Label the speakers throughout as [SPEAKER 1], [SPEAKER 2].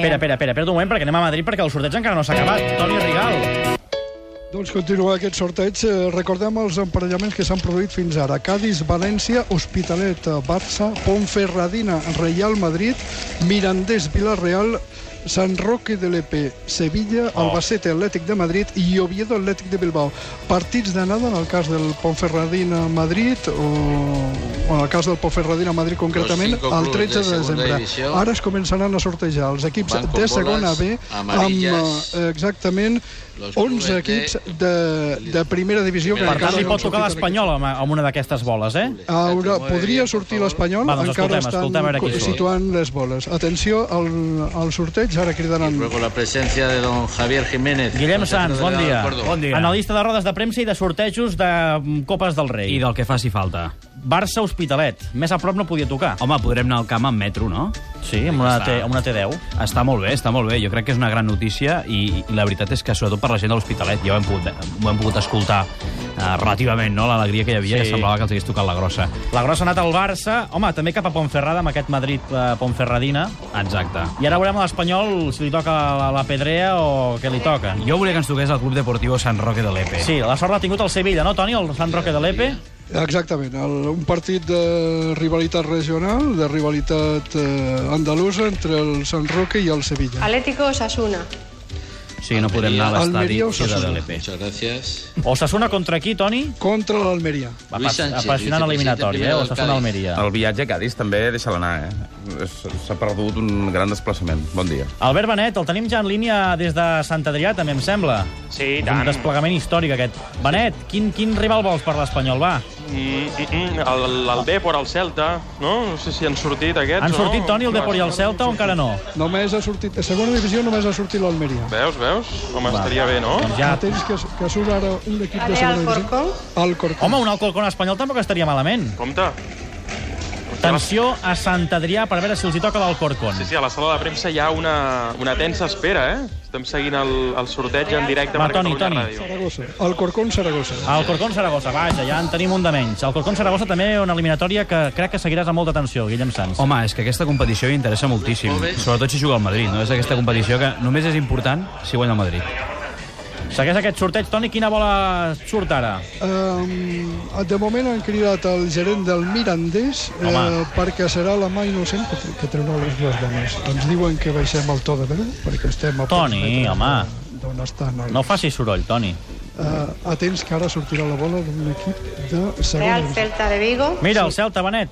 [SPEAKER 1] Espera, espera, espera, espera un moment, perquè anem a Madrid, perquè el sorteig encara no s'ha acabat. Toni Rigal.
[SPEAKER 2] Doncs continua aquest sorteig. Eh, Recordem els emparellaments que s'han produït fins ara. Cádiz, València, Hospitalet, eh, Barça, Ponferradina, Real Madrid, Mirandés, Villarreal, Sant Roque de l'EP, Sevilla,
[SPEAKER 1] Oh.
[SPEAKER 2] Albacete, Atlètic de Madrid i Oviedo, Atlètic de Bilbao. Partits d'anada, en el cas del Ponferradina Madrid, o, o en el cas del Ponferradina Madrid concretament,
[SPEAKER 3] Los cinco
[SPEAKER 2] el
[SPEAKER 3] clubs
[SPEAKER 2] 13 de
[SPEAKER 3] de segunda
[SPEAKER 2] desembre.
[SPEAKER 3] divisió.
[SPEAKER 2] Ara es començaran a sortejar els equips
[SPEAKER 3] Van con
[SPEAKER 2] de segona
[SPEAKER 3] bolas
[SPEAKER 2] B
[SPEAKER 3] amarillas.
[SPEAKER 2] amb eh, exactament
[SPEAKER 3] Los
[SPEAKER 2] 11
[SPEAKER 3] clubes de-
[SPEAKER 2] equips de, de primera divisió. que
[SPEAKER 3] Per
[SPEAKER 1] Per
[SPEAKER 2] encara
[SPEAKER 1] tant, li
[SPEAKER 2] no han
[SPEAKER 1] pot tocar
[SPEAKER 2] sortit
[SPEAKER 1] l'Espanyol amb, amb una d'aquestes boles, eh?
[SPEAKER 2] Haurà,
[SPEAKER 3] Molt bé,
[SPEAKER 2] podria
[SPEAKER 3] per
[SPEAKER 2] sortir
[SPEAKER 3] favor.
[SPEAKER 2] l'Espanyol,
[SPEAKER 1] Va, doncs
[SPEAKER 2] encara
[SPEAKER 1] escoltem,
[SPEAKER 2] estan
[SPEAKER 1] escoltem a veure qui
[SPEAKER 2] co-
[SPEAKER 1] surt.
[SPEAKER 2] situant les boles. Atenció al, al sorteig, ara cridaran...
[SPEAKER 3] Luego la presencia de don Javier Jiménez.
[SPEAKER 1] Guillem Sanz, bon dia.
[SPEAKER 4] Bon dia.
[SPEAKER 1] Analista de rodes de premsa i de sortejos de mm, Copes del Rei.
[SPEAKER 4] I del que faci falta.
[SPEAKER 1] Barça Hospitalet. Més a prop no podia tocar.
[SPEAKER 4] Home, podrem anar al camp amb metro, no?
[SPEAKER 1] Sí, amb una,
[SPEAKER 4] Està.
[SPEAKER 1] T, amb una T10.
[SPEAKER 4] Està molt bé, està molt bé. Jo crec que és una gran notícia i, i la veritat és que, sobretot per la gent de l'Hospitalet, ja ho hem pogut, ho hem pogut escoltar eh, relativament, no?, l'alegria que hi havia,
[SPEAKER 1] Sí.
[SPEAKER 4] sí. que semblava que els hagués tocat la grossa.
[SPEAKER 1] La grossa ha anat al Barça. Home, també cap a Ponferrada, amb aquest Madrid-Ponferradina.
[SPEAKER 4] Exacte.
[SPEAKER 1] I ara veurem a l'Espanyol si li toca la, la pedrea o què li toca.
[SPEAKER 4] Jo volia que ens toqués el Club Deportivo Sant Roque de Lepe.
[SPEAKER 1] Sí, la sort l'ha tingut el Sevilla, no, Toni? El Sant Roque de l'Epe?
[SPEAKER 2] Exactament, el, un partit de rivalitat regional, de rivalitat eh, andalusa entre el Sant Roque i el Sevilla.
[SPEAKER 5] Atlético Osasuna.
[SPEAKER 4] sí no podem anar a l'estadi
[SPEAKER 2] Almeria o
[SPEAKER 4] Ciutat de
[SPEAKER 2] Osasuna?
[SPEAKER 4] Lepe.
[SPEAKER 3] Muchas gracias.
[SPEAKER 1] Osasuna contra qui, Toni?
[SPEAKER 2] Contra l'Almeria.
[SPEAKER 1] Va,
[SPEAKER 3] Luis Sánchez,
[SPEAKER 1] apassionant
[SPEAKER 3] vicepresidente
[SPEAKER 1] eliminatòria, eh?
[SPEAKER 3] primero del
[SPEAKER 1] Osasuna
[SPEAKER 3] Cádiz.
[SPEAKER 1] Almeria.
[SPEAKER 6] El viatge a Cádiz també deixa-la anar, eh? S- S'ha perdut un gran desplaçament. Bon dia.
[SPEAKER 1] Albert Benet, el tenim ja en línia des de Sant Adrià, també em sembla.
[SPEAKER 7] Sí, i
[SPEAKER 1] És un
[SPEAKER 7] tant.
[SPEAKER 1] desplegament històric, aquest. Benet, quin, quin rival vols per l'Espanyol, va?
[SPEAKER 7] Mm, mm, mm, el, el Depor, el Celta, no? No sé si han sortit aquests
[SPEAKER 1] Han
[SPEAKER 7] o
[SPEAKER 1] sortit,
[SPEAKER 7] no?
[SPEAKER 1] Toni, el Depor i el Celta o encara no?
[SPEAKER 2] Només ha sortit, a segona divisió només ha sortit l'Almeria.
[SPEAKER 7] Veus, veus? Home, estaria bé, no?
[SPEAKER 1] Doncs ja...
[SPEAKER 2] Ja tens que, que surt ara un equip de
[SPEAKER 5] Ale
[SPEAKER 2] segona divisió.
[SPEAKER 5] Alcorcón.
[SPEAKER 2] Alcorcón.
[SPEAKER 1] Home, un Alcorcón espanyol tampoc estaria malament.
[SPEAKER 7] Compte.
[SPEAKER 1] Tensió a Sant Adrià per veure si els hi toca l'Alcorcón.
[SPEAKER 7] Sí, sí, a la sala de premsa hi ha una, una tensa espera, eh? Estem seguint el, el sorteig en directe
[SPEAKER 1] Va,
[SPEAKER 7] per
[SPEAKER 1] Toni,
[SPEAKER 7] Catalunya
[SPEAKER 1] Toni.
[SPEAKER 7] Ràdio.
[SPEAKER 2] Saragossa. Alcorcón, Saragossa.
[SPEAKER 1] Alcorcón Saragossa, vaja, ja en tenim un de menys. Alcorcón Saragossa també una eliminatòria que crec que seguiràs amb molta atenció, Guillem Sanz.
[SPEAKER 4] Home, és que aquesta competició interessa moltíssim, sobretot si juga al Madrid, no? És aquesta competició que només és important si guanya el Madrid.
[SPEAKER 1] Segueix aquest sorteig, Toni, quina bola surt ara?
[SPEAKER 2] Um, de moment han cridat el gerent del Mirandés eh,
[SPEAKER 1] Home.
[SPEAKER 2] perquè serà la mà innocent que, tr- que treu les dues dones. Ens diuen que baixem el to de veu perquè estem a pocs
[SPEAKER 1] Toni,
[SPEAKER 2] metres
[SPEAKER 1] home.
[SPEAKER 2] de- d'on està. No.
[SPEAKER 1] No facis soroll, Toni.
[SPEAKER 2] Uh, atents que ara sortirà la bola d'un equip de segona
[SPEAKER 5] Real
[SPEAKER 2] divisió.
[SPEAKER 5] Celta de Vigo.
[SPEAKER 1] Mira, el Celta, Benet.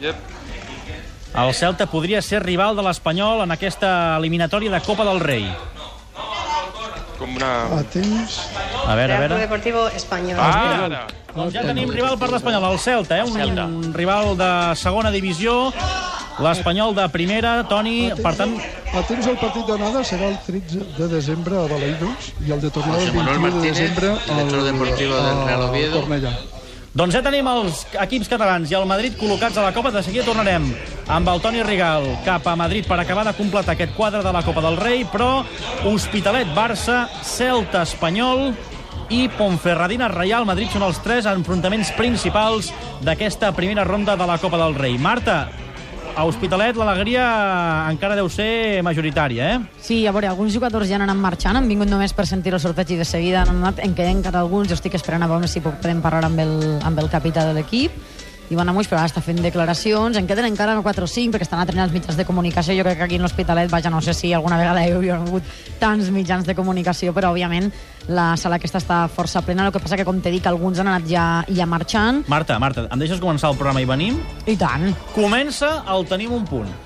[SPEAKER 7] Yep.
[SPEAKER 1] El Celta podria ser rival de l'Espanyol en aquesta eliminatòria de Copa del Rei.
[SPEAKER 7] Com una...
[SPEAKER 2] Atents.
[SPEAKER 1] A veure, a
[SPEAKER 5] Real Club
[SPEAKER 1] veure...
[SPEAKER 5] Deportivo Español.
[SPEAKER 1] Ah,
[SPEAKER 7] Ara.
[SPEAKER 1] doncs ja tenim rival per l'Espanyol, el Celta, eh? Un rival de segona divisió, l'Espanyol de primera, Toni, per tant...
[SPEAKER 2] Atents al partit d'anada serà el 13 de desembre a Baleidos i el de tornada el
[SPEAKER 3] José Manuel
[SPEAKER 2] 21 de
[SPEAKER 3] Martínez,
[SPEAKER 2] desembre
[SPEAKER 3] director deportivo del Real
[SPEAKER 2] a
[SPEAKER 3] Oviedo.
[SPEAKER 2] Cornellà.
[SPEAKER 1] Doncs ja tenim els equips catalans i el Madrid col·locats a la Copa. De seguida tornarem amb el Toni Rigal cap a Madrid per acabar de completar aquest quadre de la Copa del Rei, però Hospitalet, Barça, Celta, Espanyol i Ponferradina Reial Madrid són els tres enfrontaments principals d'aquesta primera ronda de la Copa del Rei. Marta, a Hospitalet l'alegria encara deu ser majoritària, eh?
[SPEAKER 8] Sí, a veure, alguns jugadors ja han anat marxant, han vingut només per sentir el sorteig i de seguida han anat, en queden encara alguns, jo estic esperant a veure si puc- podem parlar amb el, amb el capità de l'equip, Ivan Amuix, però ara està fent declaracions, en queden encara 4 o 5 perquè estan entrenant els mitjans de comunicació, jo crec que aquí en l'Hospitalet, vaja, no sé si alguna vegada hi hauria hagut tants mitjans de comunicació, però òbviament la sala aquesta està força plena, el que passa que, com t'he dit, alguns han anat ja, ja marxant,
[SPEAKER 1] Marta, Marta, em deixes començar el programa i venim?
[SPEAKER 8] i tant,
[SPEAKER 1] Comença el Tenim un punt.